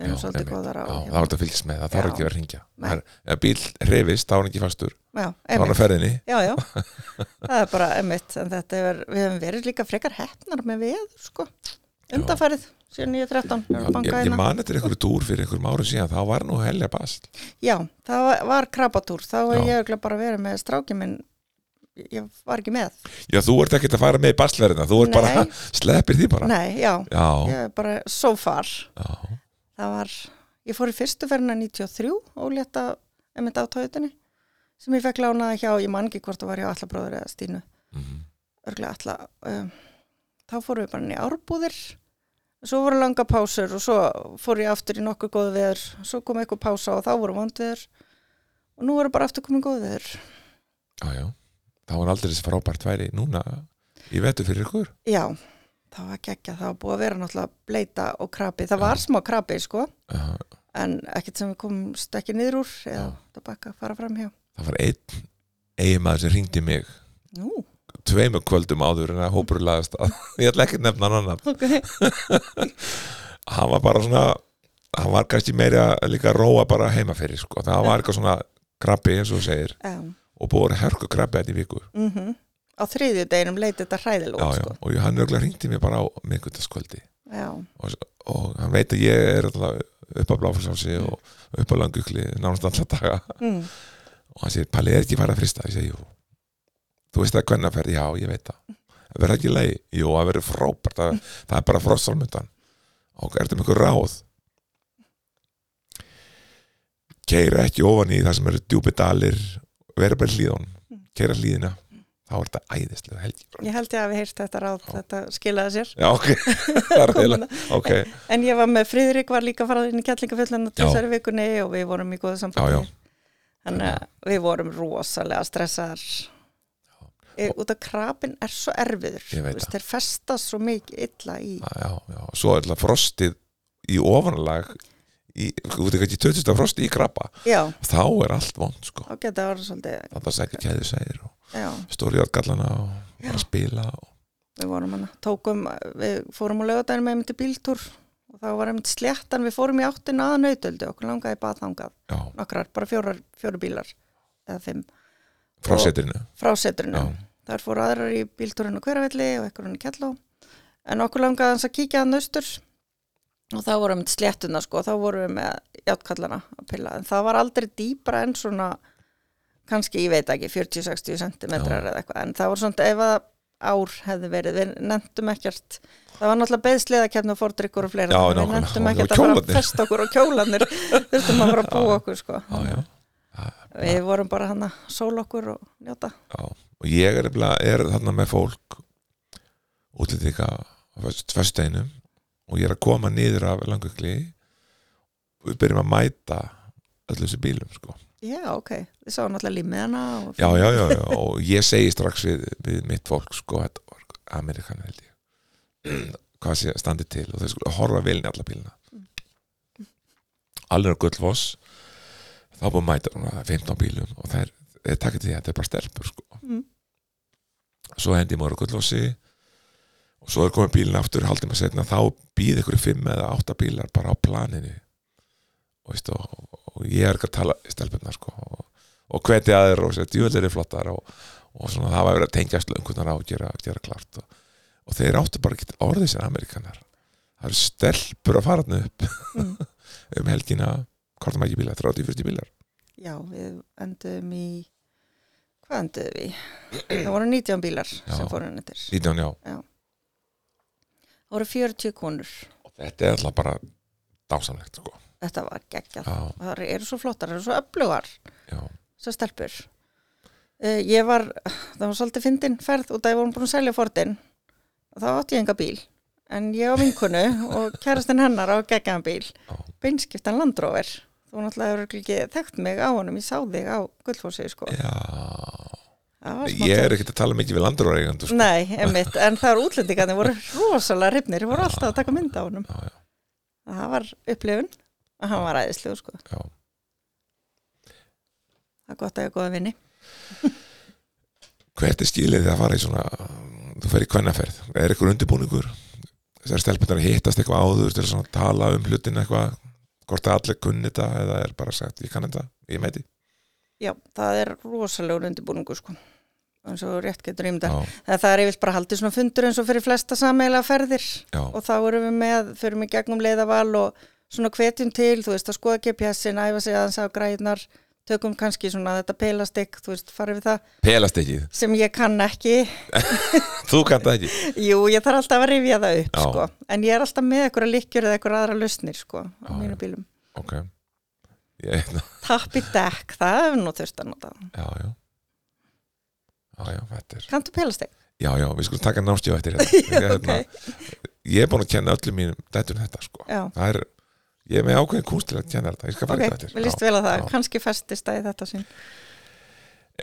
erum Já, svolítið einmitt. góðar á Já, hérna. það átt að fylgjast með, það þarf Já. ekki að vera að ringja. Nei. Það er- Ef bíl reyfist, þá er hann ekki fastur. Þá já, er hann einmitt á ferðinni. já, já, það er bara einmitt en þetta er, við höfum verið líka frekar hefnar með veður, sko undanfærið, síðan 9.13 Já, erum að Ég, banka ég hérna. man eftir einhverju túr fyrir einhverjum árum síðan, þá var nú helja bast. já, það var- var krabatúr þá Já. er ég örugglega bara verið með stráki minn ég var ekki með Já, þú ert ekkert að fara með í bastverðina, þú ert Nei. bara, sleppir því bara. nei, já, Já, ég er bara so far já, það var, ég fór í fyrstu ferðina 93 og leta einmitt á tóðutinni sem ég fekk lánaði hjá, ég man ekki hvort það var hjá allabróður eða Stínu Mhm. örglega alla um, þá fórum við bara inn í árbúðir svo voru langa pásur og svo fór ég aftur í nokkuð góð veður svo kom eitthvað pása og þá voru vond veður og nú voru bara aftur komin góð veður já, já. Þá var aldrei þessi frábært væri núna í vetu fyrir ykkur. já, það var gekkja, það var búið að vera náttúrulega bleita og krabi, það var smá krabi sko, Já, en ekkert sem við komumst ekki niður úr eða Já. tilbaka, fara fram hjá það var einn eiginmaður sem ringdi mig nú, tveimur kvöldum áður en að hópur laðast að ég ætla ekki að nefna hann annan ok, hann var bara svona hann var kannski meira líka að róa bara heima fyrir sko. það var eitthvað svona krabbi eins og þú segir um, og búið að vera hörku krabbi þetta í vikur mm á þriðju deginum leiti þetta já, hræðilúð já. sko. og hann örgulega ringdi mig bara á miðgutaskvöldi já, og, og hann veit að ég er alltaf upp á bláfarsási og upp á langugli nánast alla daga mm, og hann segir, Palli er ekki farið að frista ég segi, jú, þú veist það hvernig að ferð já, ég veit það, það verður ekki leið jú, það verður frábært, það, það er bara frostalmundan og ertu með ykkur ráð keira ekki ofan í það sem eru djúpi dalir verður bara hlýðan, keira hlýðina þá er þetta æðislega helgi bara. ég held ég að við heyrst þetta ráð, þetta skilaði sér já, ok, það er heila ok, En ég var með Friðrik var líka farað inn í kjallingafjöllunum Já. þessari vikunni og við vorum í góða Já, sambandi. já. Þannig að við vorum rosalega stressaðar. E, út af krabin er svo erfiður. Ég veit Þú veist, það. Ah. Þeir festast svo mikið illa í. já, já, svo er alltaf frostið í ofanlag í, þú veit ekki, 2000 frosti í krabba Já, þá er allt vond, sko þá geta það var svolítið. þannig að sækja kæðu sæðir og Já, stórjárgallana og var að spila og... við vorum hana. Tókum, við fórum á laugardaginu með einmitt í bíltúr og þá var einmitt sléttan. Við fórum í áttina að nautöldu. Okkur langaði bara þangað. já, Nokkrar, bara fjórar, fjóru bílar eða fimm. frá Og- setrinu frá setrinu. Já. Þar fóru aðrar í bíltúrinu hveravelli og ekkurinn í Kjalló. En okkur langaði hans að kíkja hann austur og þá vorum við sléttuna sko, þá vorum við með játkallana að pilla. En það var aldrei dýpra en svona, kannski, ég veit ekki, 40-60 cm Já. eða eitthvað. En það var svona, ef að ár hefði verið, við nefndum ekkert. Það var náttúrulega beðsliða kemna fordrykkur og fleira. Já, þannig nákvæmlega. við nefndum Og- og ekkert að fara að kjólarnir. festa okkur og kjólanir. Þurftum að fara að búa okkur sko. já, já, Við vorum bara hann að sóla okkur og njóta. já og ég er, nefnilega- er þarna með fólk útlýtika á föstudeinum og ég er að koma niður af langugli og við byrjum að mæta öllu þessu bílum sko. Já, ok. Þið sáum náttúrulega límið hana og... já, já, já, já, og ég segi strax við, við mitt fólk sko, þetta var Amerikan held ég hvað sé standi til og þau skulle horfa velni alla bílina alveg á gullfoss þá búið að mæta núna 15 bílum og það er, er takkir til því að þetta er bara stelpur sko. Mm. svo hendi maður á gullfossi og svo er komið bílinn aftur haldið maður setna þá býð ykkur fimm eða átta bílar bara á planinu og, veist, og, og, og ég er ekki að tala stelpurnar sko, og, og hveti aðeir og djúðlega er flottar og, og svona, það var verið að tengja slöngunar á og gera, gera klart og, og þeir áttu bara að geta orðið sér Amerikanar það eru stelpur að fara þarna upp Mm. um helgina hvort það ekki bílar, 30-40 bílar Já, við endum í... Hvað endum við? í? Það voru 19 bílar Já. sem fóru hann yttir. 19, já, Það voru 40 konur. og þetta er alltaf bara dásamlegt sko. Þetta var geggjað. já, Og Það eru svo flottar, það eru svo öflugar, já, svo stelpur. Eh, Uh, ég var, það var svolítið fyndin ferð út að ég vorum búin að selja fordin þá átti ég enga bíl en ég á vinkunu og kærastinn hennar á geggjaðan bíl Já. beinskiptan landróver þú náttúrulega hefur ekki þekkt mig á honum ég sá þig á gullfósi sko. Já, Það var smá ég er ekkert að tala mikið við landróreigandu sko. Nei, einmitt, en það var útlendingarnir voru rosalega hrifnir, voru alltaf að taka mynda á honum Já, já, það var upplifun og hann var æðislegu sko já. það er gott að ég er góða vinni Hvert er skilið þið að fara í svona þú fer í kvennaferð, er eitthvað undirbúningur þessar stelpunar hittast eitthvað áður til að svona tala um hlutin eitthvað hvort að allir kunni þetta eða er bara sagt, ég kann þetta, ég meiti já, það er rosalegur undirbúningu sko eins og rétt getur ímda já, það er yfirlt bara haldið svona fundur eins og fyrir flesta sameiginlega ferðir já, og þá erum við með, förum í gegnum leiðaval og svona hvetjum til, þú veist að skoða GPS-in, æfa sig aðeins á græðnar tökum kannski svona þetta pelastikk þú veist, farið við það, pelast ekki, sem ég kann ekki þú kann það ekki Jú, ég þarf alltaf að rifja það upp Já. sko. en ég er alltaf með einhverja lykkjur eða einhverja aðra lausnir sko, á Já, mínu bílum ok ég, Tappi dekk, það hefur nú þurft að nota já, já já, já, þetta er Kanntu pelasteg? já, já, við skulum taka námstjóð eftir þetta Ég- hérna ok. ég er búin að kenna öllum mínum dættur þetta sko, Já, það er ég er með ákveðin kúst til að kenna þetta, ég skal fara ok, okay, þetta eftir við líst vel að það já. kannski festist það í þetta sinn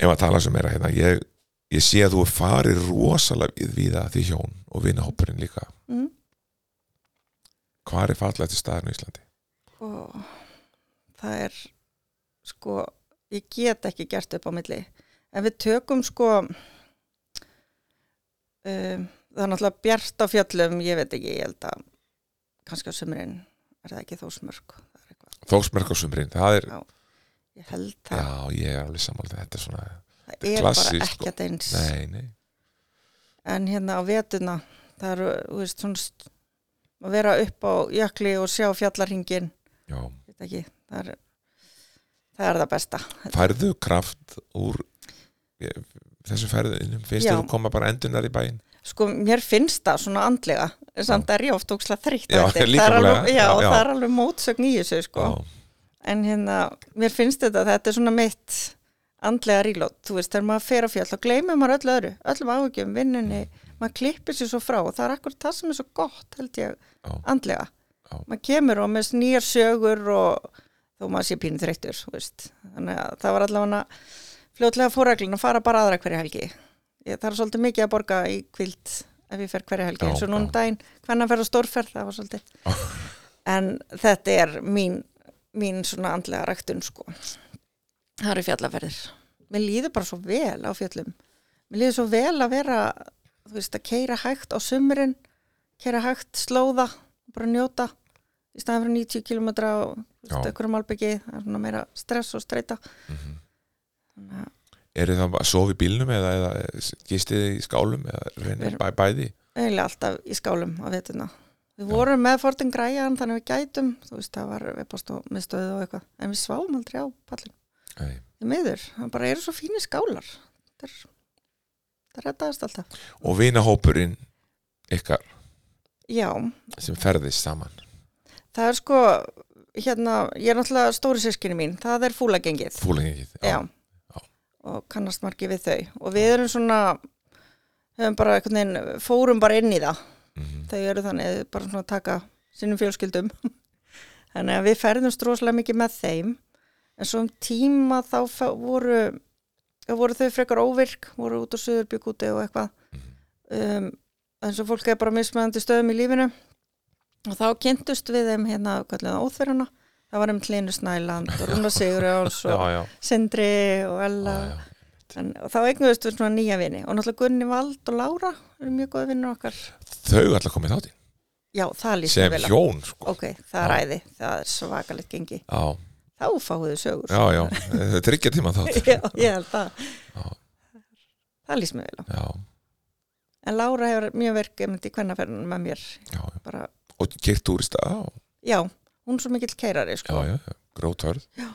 ef að tala sem meira hérna ég, ég sé að þú er farið rosalega við viða því hjón og vinahópurinn líka mm. hvað er fallega til staðinu í Íslandi og það er sko, ég get ekki gert upp á milli en við tökum sko um, það er náttúrulega bjart á fjöllum ég veit ekki, ég held að kannski á sumrin er það ekki þó smörg það er eitthvað, Þóksmörk á sumrin, það er, ég held það já ég er alveg sammálið þetta er svona, það er klassískt, bara sko. ekkert eins nei, nei en hérna á vetuna það eru, þú veist, svona st- að vera upp á jökli og sjá fjallarhingin já, veit ekki, það er það er það besta færðu kraft úr ég, þessu færðu innum, finnst Já. þér þú koma bara endunar í bæinn sko, mér finnst það svona andlega en samt er ég oft ókslega þrýtt Já, það er líkamlega, alveg, já, já, já. það er alveg mótsögn í þessu sko. en hérna, mér finnst þetta þetta er svona mitt andlega rílót, þú veist, þegar maður fer á fjall þá gleymir maður öllu öðru, öllum áhugjum vinnunni, maður klippir sér svo frá og það er akkur það sem er svo gott, held ég Já. andlega, Já. maður kemur og með nýjar sögur og þó maður sé pínu þreyttur, þú veist þannig að það var allavega fljótlega fóræglin að fara bara aðra hverja helgi ég, það er svolítið mikið að borga í kvild ef ég fer hverja helgi, Já, eins og núna um já. daginn hvernig að ferða stórferð, það var svolítið en þetta er mín mín svona andlega ræktun sko það eru fjallaferðir mér líður bara svo vel á fjallum mér líður svo vel að vera þú veist að keira hægt á sumrin keira hægt, slóða bara njóta í staðan fyrir 90 km og þú veist, Já. einhverjum albyggi það er svona meira stress og streyta þannig að mhm. eru það bara að sofa í bílnum eða, eða gistið þið í skálum eða reynir Við- bæ, bæði eiginlega alltaf í skálum á vetuna við Já. vorum með Fortin Græjan þannig við gætum þú veist það var við bást og miðstöðu og eitthvað en við sváum aldrei á pallin Nei. við meður, það bara eru svo fínir skálar það er það rettaðist alltaf og vinahópurinn ykkar já, sem ferðist saman það er sko hérna, ég er náttúrulega stóri sískinni mín það er fúlagengið fúlingi já. Já. og kannast margir við þau og við erum svona höfum bara einhvern veginn, fórum bara inn í það Mhm. þau eru þannig bara svona að taka sínum fjölskyldum þannig að við ferðumst rosalega mikið með þeim en svo um tíma þá fe- voru, þá voru þau frekar óvirk voru út á Suðurbjúkúti og eitthvað Mhm. um, en svo fólk er bara á mismunandi stöðum í lífinu og þá kynntust við þeim hérna kallega óþverjana það var um Hlinu Snæland og Rúna Sigurjáls og já, já, Sindri og Ella já, já. en, og þá eignuðust við svona nýja vini og náttúrulega Gunni Vald og Lára eru mjög góði vinnur okkar þau ætla að koma í þáttinn já, það lýst mér sem vel á. hjón sko. Ok, það er æði, það er svakalegt gengi. já, Þá fáiðu sögur. já, já, þetta er tryggja tíma þátt Já, ég held það. Já. Það lýst mér vel á. já, En Lára hefur mjög verkið myndi í kvennaferðinu með mér. já, já. Bara, og keirt túrista á, já, hún er svo mikill keirari, já, sko. já, já, grótörð Já.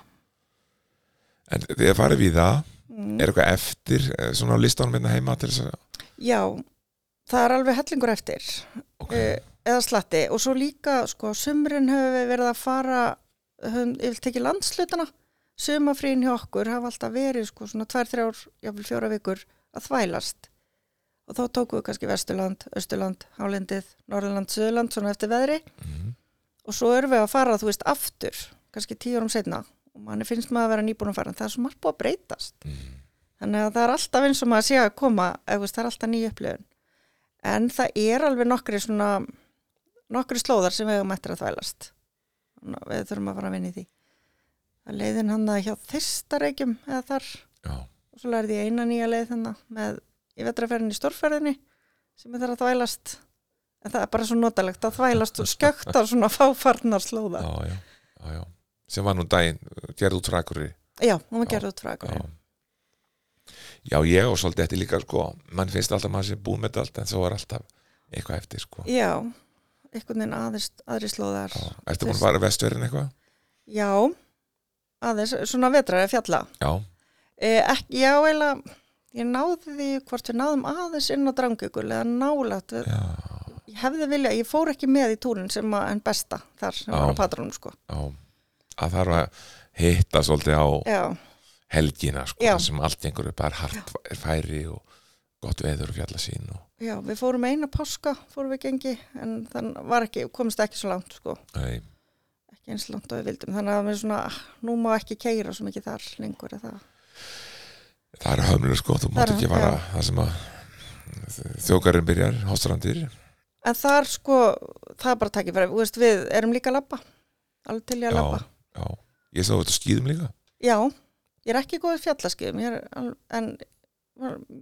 en þegar farið við það Mm, er eitthvað eftir eh, svona á listanum hérna heima til þess að já, það er alveg hellingur eftir. ok, Eh, Eða slatti. Og svo líka, sko, á sumrin höfum við verið að fara, höfum, ég vil teki landslutana. Sumafrín hjá okkur hafa alltaf verið, sko, svona tvær, þrjár, jáfnvel fjóra vikur að þvælast. og þá tókum við kannski Vesturland, Östurland, Hálendið, Norðurland, Suðurland, svona eftir veðri Mhm. og svo erum við að fara, þú veist, aftur, kannski tíu árum setna og manni finnst maður að vera nýbúin að fara en það er svo margt búið að breytast þannig að það er alltaf eins og maður sé að koma eða, þú veist, það er alltaf nýja upplifun en það er alveg nokkri svona nokkri slóðar sem við hefum eftir að þvælast Þannig að við þurfum að fara að vinna í því að leiðin hann að hjá þyrstareikjum eða þar já, og svo lærði ég eina nýja leið þannig með í vetraferðinni í stórferðinni sem ég þarf að þvælast en það er bara svo notalegt að þvælast og skjögt á svona fáfarnar slóða já, já, já, já. sem var nú daginn, gerðu trækurri já, hún var gerð út frá já. ekkur já, ég og svolítið þetta er líka sko, mann finnst alltaf að maður sé búið með þetta allt en svo er alltaf eitthvað eftir sko. já, einhvern veginn aðeins aðri slóðar já. Ertu búin að fara vesturinn eitthvað? já, aðeins svona vetrar að fjalla Já, eh, ekki, já, eiginlega ég náði því hvort við náðum aðeins inn á drangjökul eða nálægt við, já, ég hefði viljað, ég fór ekki með í túrin sem að, en besta þar sem Já. var á patrónum sko já að þarf að hitta svolítið á já, helgina sko, Já. þar sem allt einhverju bara hart er færi og gott veður og fjalla sín og, já, við fórum eina páska fórum við gengi, en þann var ekki komist ekki svo langt sko, nei, ekki eins langt og við vildum, þannig að við svona ah, nú má ekki keira svo mikið þar lengur eða það, það er hömlur sko, þú mátt Það er- ekki fara það sem að þjókarinn byrjar, hóstrandir en þar sko það er bara takkifæri, þú veist við erum líka að labba, alveg til ég að Já. labba já, ég sá þetta skýðum líka Já, ég er ekki góð í fjallaskiðum, ég er, al- en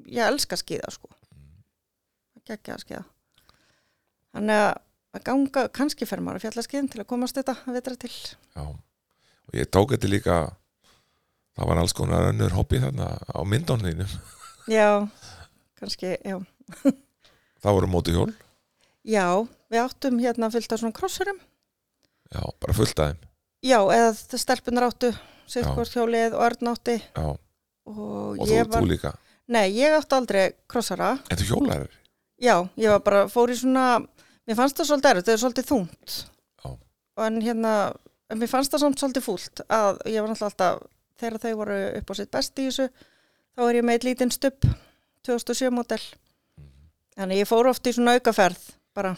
ég elska að skíða sko. Gekki að skíða. Þannig að að ganga, kannski fer maður að fjallaskiðum til að komast þetta að vetra til. já, og ég tók þetta líka það var alls konar önnur hobby þarna á myndónlínu Já, kannski, já. það voru móti hjól, Já, við áttum hérna fyllt á svona krossurum. já, bara fullt af þeim Já, eða þ- stelpunar áttu, Já. Sirkvort hjólið og Örn átti já, og, og þú, ég var, þú líka nei, ég átti aldrei krossara. en þú hjólar já, Já, ég var bara, fór í svona, mér fannst það svolítið erfitt, það er svolítið þungt. Já. En hérna, en mér fannst það samt svolítið fúlt að ég var náttúrulega alltaf, þegar þau voru upp á sitt best í þessu, þá er ég með eitt lítinn stubb, 2007 model. Þannig ég fór oft í svona aukaferð, bara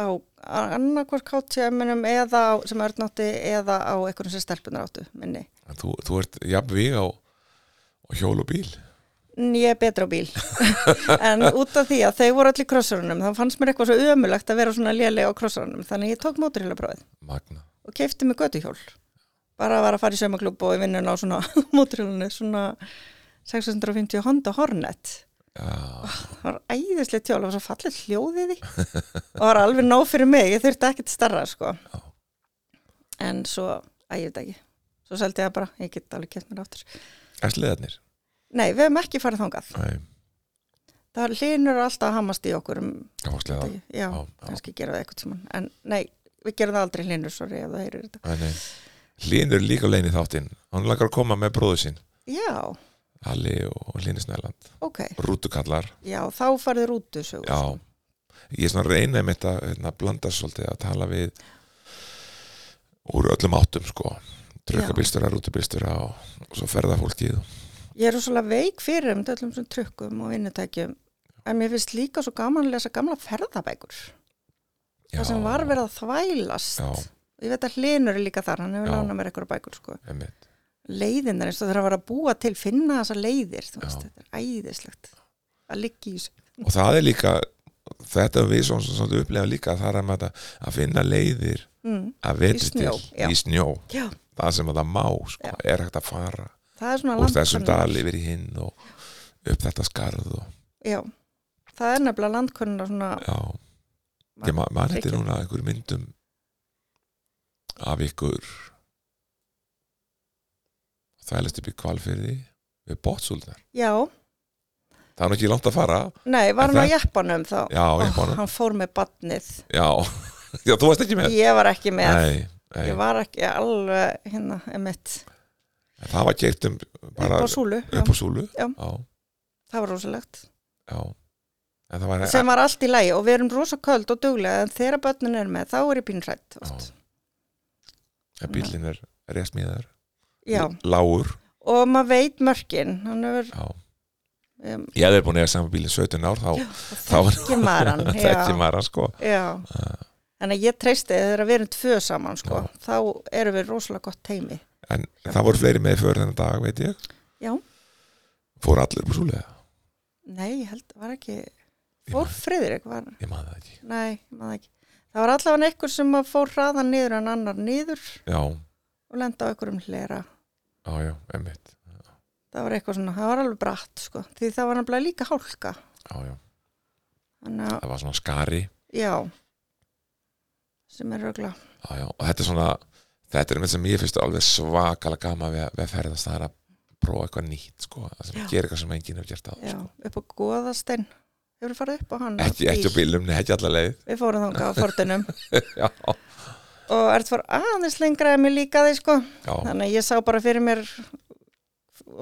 á annarkvort KTM-inum eða á, sem örnátti eða á einhvern sem stelpunar áttu minni. En þú, þú ert jafn við á, á hjól og bíl En Ég er betra á bíl en út af því að þau voru allir krossurunum þá fannst mér eitthvað svo ömulegt að vera svona lélega á krossurunum þannig að ég tók móturhjólaprófið magna, og keipti mig götuhjól bara var að fara í saumaklúb og í vinnun á svona móturhjólunni svona 650 Honda Hornet já, það var æðislega tjól, það var svo fallið hljóðið í því. og það var alveg nóg fyrir mig ég þurfti ekkert starra sko Já. en svo, æ, ég veit ekki svo seldi ég það bara, ég get alveg keipt mér aftur er sleðarnir nei, við hefum ekki farið þangað nei, það hlinur alltaf að hamast í okkur um já, sleða já, já, já, já. kannski gera það eitthvað tímann en nei, við gerum það aldrei hlinur sorry ef það heyrir þetta Nei, nei. Hlynur er líka lein í þáttinn hann lakar að koma með bróðu sín já, Halli og Hlynur Snæland ok, rútukallar, já, þá farið rútu sögur. sko. já ég er svona að reyna einmitt að hérna, blanda svolítið að tala við úr öllum áttum sko trökkabílstura, rútubílstura og, og svo ferða fólkið ég er svolítið veik fyrir um öllum svona trukkum og vinnutækjum en mér finnst líka svo gaman að lesa gamla ferðabækur það sem var verið að þvælast Já. ég veit að hlinur er líka þar hann hefur Já. lánað mér eitthvað bækur sko. einmitt, leiðin er eins og þeirra var að búa til finna þessa leiðir, þú veist, Já. þetta er æðislegt að liggi í þessu og það er líka þetta höfum við svona, svona upplega líka það er að, maður að- að finna leiðir mm. að vetri Í snjó, til já. í snjó já, það sem að það má, sko, er hægt að fara það er svona úr þessum landkönnunar. dal yfir í hinn og upp þetta skarð og, Já, það er nefnilega landkunnar svona, já, ég ma maður hætti núna einhver myndum af ykkur það er upp í kvalfyrði við bótsúlnar, já, það er nú ekki langt að fara nei, var En hann á það- jeppanum þá? já, ég Ó, bánum, hann fór með badnið, já já, þú varst ekki með, ég var ekki með, nei, nei. ég var ekki alveg hérna, emitt, En það var keipt um bara upp á súlu, já, upp á súlu Já. Já, það var rosalegt, já. en það var sem var allt í lagi og við erum rosa köld og duglega en þegar börnin er með þá er ég pínrætt oft, að bílinn e- er resmiðar já, lágur og maður veit mörkin, hann hefur, já, um, ég hef búin að eiga saman bílinn 17 ár þá, þá er ekki maran ekki maður að sko Já, þannig að ég treysti þegar við erum tvö saman sko, þá erum við rosalega gott teimi. en það voru fleiri með fyrir þennan dag veit ég, Já, fóru allir úr súlega, nei, ég held, var ekki, fór Friðrik, var, ég maður það ekki nei, maður ekki. Það var allavega einhver sem að fór hraðan niður en annar niður já, og lenda á einhverjum hlera. já, já, emmitt Það var eitthvað svona, það var alveg bratt sko, því það var náttúrulega líka hálka. já, já, Þannig að, það var svona skari já, sem er rögla. já, já, og þetta er svona þetta er einmitt sem ég finnst alveg svakalega gama við, að- við að ferðast, það er að prófa eitthvað nýtt sko, það sem Já. gerir eitthvað sem enginn hefur gert sko. á Já, upp á góðastein. Hefur við farið upp á hann? ekki, ekki á bílum, nei, ekki allar leið Við fórum þangað á fortinum. já, og Ert var aðeins lengra en mér líkaði sko já, þannig að ég sá bara fyrir mér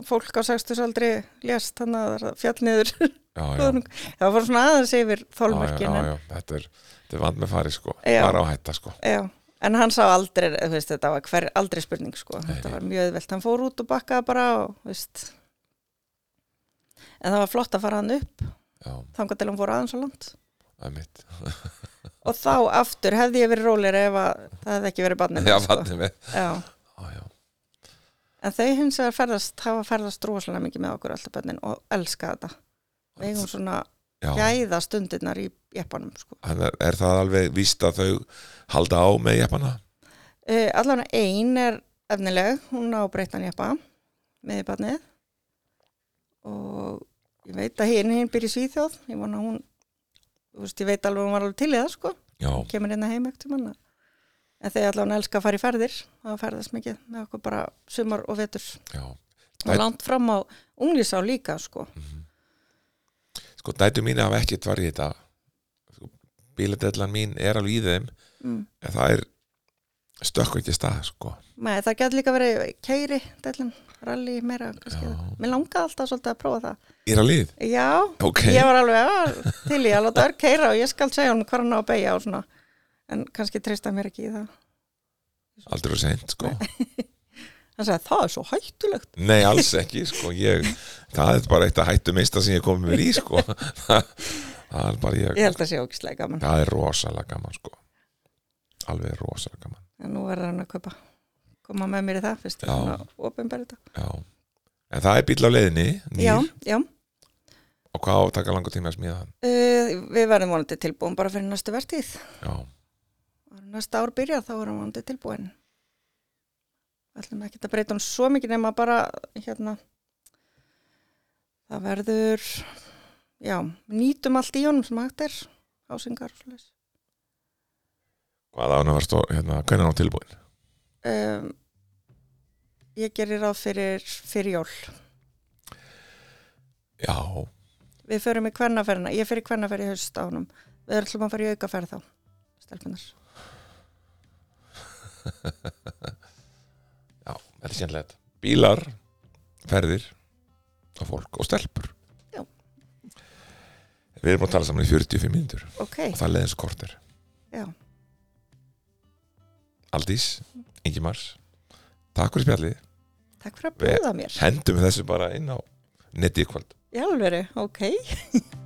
fólk á 60 aldri lést þannig að það fjall niður já, já. það var svona aðeins yfir já, já, þólmarkinu já, þetta er, þetta er vand með fari sko Já. bara á hætta sko en hann sá aldrei, þú veist, þetta var hver, aldrei spurning sko, Nei, nei. þetta var mjög auðvelt hann fór út og bakkaði bara og, þú veist en það var flott að fara hann upp já, þangað til hann fór aðeins á land það er mitt og þá aftur hefði ég verið rólir ef að það hefði ekki verið barnið já, sko. vatni með já. já, já, En þau hins vegar ferðast, hafa ferðast rosalega mikið með okkur alltaf bönnin og elska þetta. Við eigum svona já. gæða stundirnar í jeppanum, sko. Hann Er, er það alveg víst að þau halda á með jeppana Uh, allan ein er efnileg, hún á breyttan jeppa með barnið og ég veit að hinn, hinn byrja í Svíþjóð, ég vona að hún, þú veist, ég veit alveg að hún var alveg til í það, sko, já, hún kemur hérna heim ekkert um hana. En þau allan elska að fara í ferðir, það ferðast mikið með okkur bara sumar og vetur. já Og Æ- langt fram á unglísá líka, sko. mhm. sko, dætu mín hafa ekkert var í þetta sko, bíladellan mín er alveg í þeim Mm. en það er stökku ekki stað sko Nei, það getur líka verið keiri, dælum, rally, meira, kannski. Já. Mér langaði alltaf svolítið að prófa það. er að lið, Já, ok ég var alveg að til í að láta ör keira og ég skal segja hún hvað hann á að beigja og svona. En kannski treysta mér ekki í það. aldrei verið seint sko Hann sagði, það er svo hættulegt. Nei, alls ekki, sko, ég það er bara eitt að hættu mista sem ég komið mér í, sko það er bara ég, Ég held að sé ógislega gaman. það er rosalega gaman, sko alveg rosalega gaman, En nú verður hann að kaupa, koma með mér í það, fyrst. Já. Svona opinberið það. já en það er bíl á leiðinni, nýr Já, já. og hvað á að taka langar tíma að smíða hann Uh, við verðum vonandi tilbúin bara fyrir næstu vertíð. já, Áður en næsta ár byrjar þá er hann vonandi tilbúin Það ætlum ekki að breyta hann svo mikið nema bara hérna það verður já, nýtum allt í honum sem hægt er ásingar um, hvað á hann að vera stóð, hérna, hvernig er hann tilbúin Um, ég gerir ráð fyrir, fyrir jól já, við förum í kvennaferðina, ég fyrir kvennaferð í haust á honum við ætlum að fara í aukaferð þá stelpunar, já, þetta er sérlega bílar, ferðir og fólk og stelpur Já. við erum að tala saman í 45 mínútur ok og það leiðins kortir já, Aldís, Ingimars takk fyrir spjallið takk fyrir að Við- búða mér hendum þessu bara inn á netið í kvöld í alvöru, ok